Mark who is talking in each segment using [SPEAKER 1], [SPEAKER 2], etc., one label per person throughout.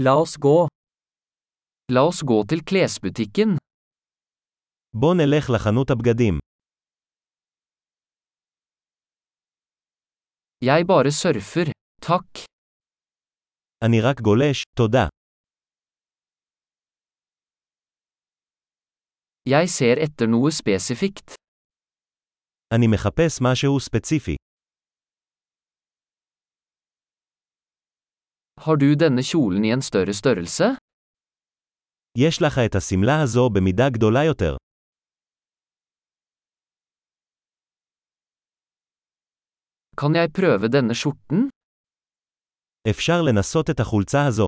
[SPEAKER 1] La oss gå. La oss gå til klesbutikken.
[SPEAKER 2] בוא נלך לחנות הבגדים.
[SPEAKER 1] Jeg bare surfer. Takk.
[SPEAKER 2] אני רק גולש, תודה.
[SPEAKER 1] Jeg ser etter noe spesifikt.
[SPEAKER 2] אני מחפש משהו ספציפי.
[SPEAKER 1] Har du denne kjolen i en større størrelse?
[SPEAKER 2] יש לך את השמלה הזו במידה גדולה יותר.
[SPEAKER 1] Kan jeg prøve denne skjorten?
[SPEAKER 2] אפשר לנסות את החולצה הזו.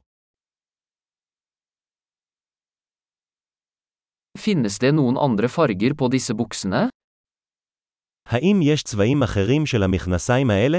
[SPEAKER 1] Finnes det noen andre farger på disse buksene?
[SPEAKER 2] האם יש צבעים אחרים של המכנסיים האלה?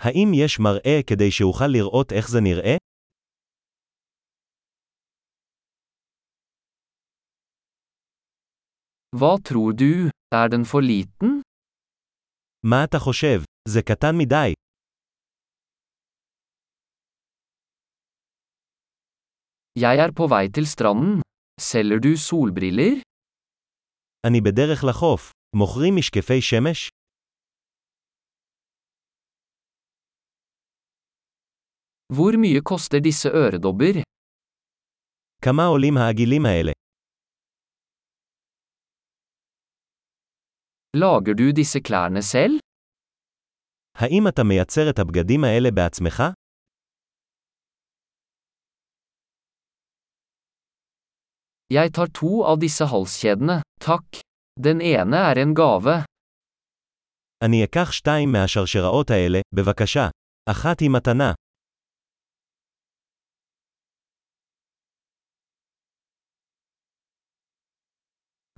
[SPEAKER 2] האם יש מראה כדי שאוכל לראות איך זה נראה?
[SPEAKER 1] Hva tror du? Er den for liten?
[SPEAKER 2] מה אתה חושב? זה קטן מדי.
[SPEAKER 1] Jeg er på vei til stranden. Selger du solbriller?
[SPEAKER 2] אני בדרך לחוף. מוכרים משקפי שמש?
[SPEAKER 1] Hvor mye koster disse øredobber?
[SPEAKER 2] כמה עולים העגילים האלה?
[SPEAKER 1] Lager du disse klærne selv?
[SPEAKER 2] האם אתה מייצר את הבגדים האלה בעצמך?
[SPEAKER 1] Jeg tar to av disse halskjedene, takk. Den ene er en gave.
[SPEAKER 2] אני אקח שתיים מהשרשראות האלה, בבקשה. אחת היא מתנה.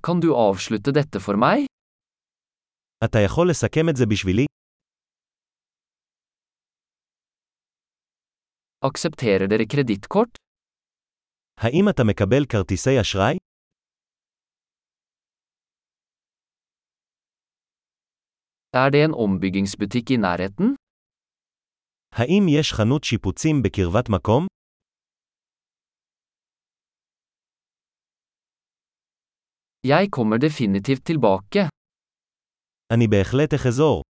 [SPEAKER 1] Kan du avslutte dette for meg?
[SPEAKER 2] אתה יכול לסכם את זה בשבילי?
[SPEAKER 1] Aksepterer dere kredittkort?
[SPEAKER 2] האם אתה מקבל כרטיסי אשראי?
[SPEAKER 1] Er det en ombyggingsbutikk i nærheten?
[SPEAKER 2] האם יש חנות שיפוצים בקרבת מקום?
[SPEAKER 1] Jeg kommer definitivt tilbake.
[SPEAKER 2] אני בהחלט אחזור.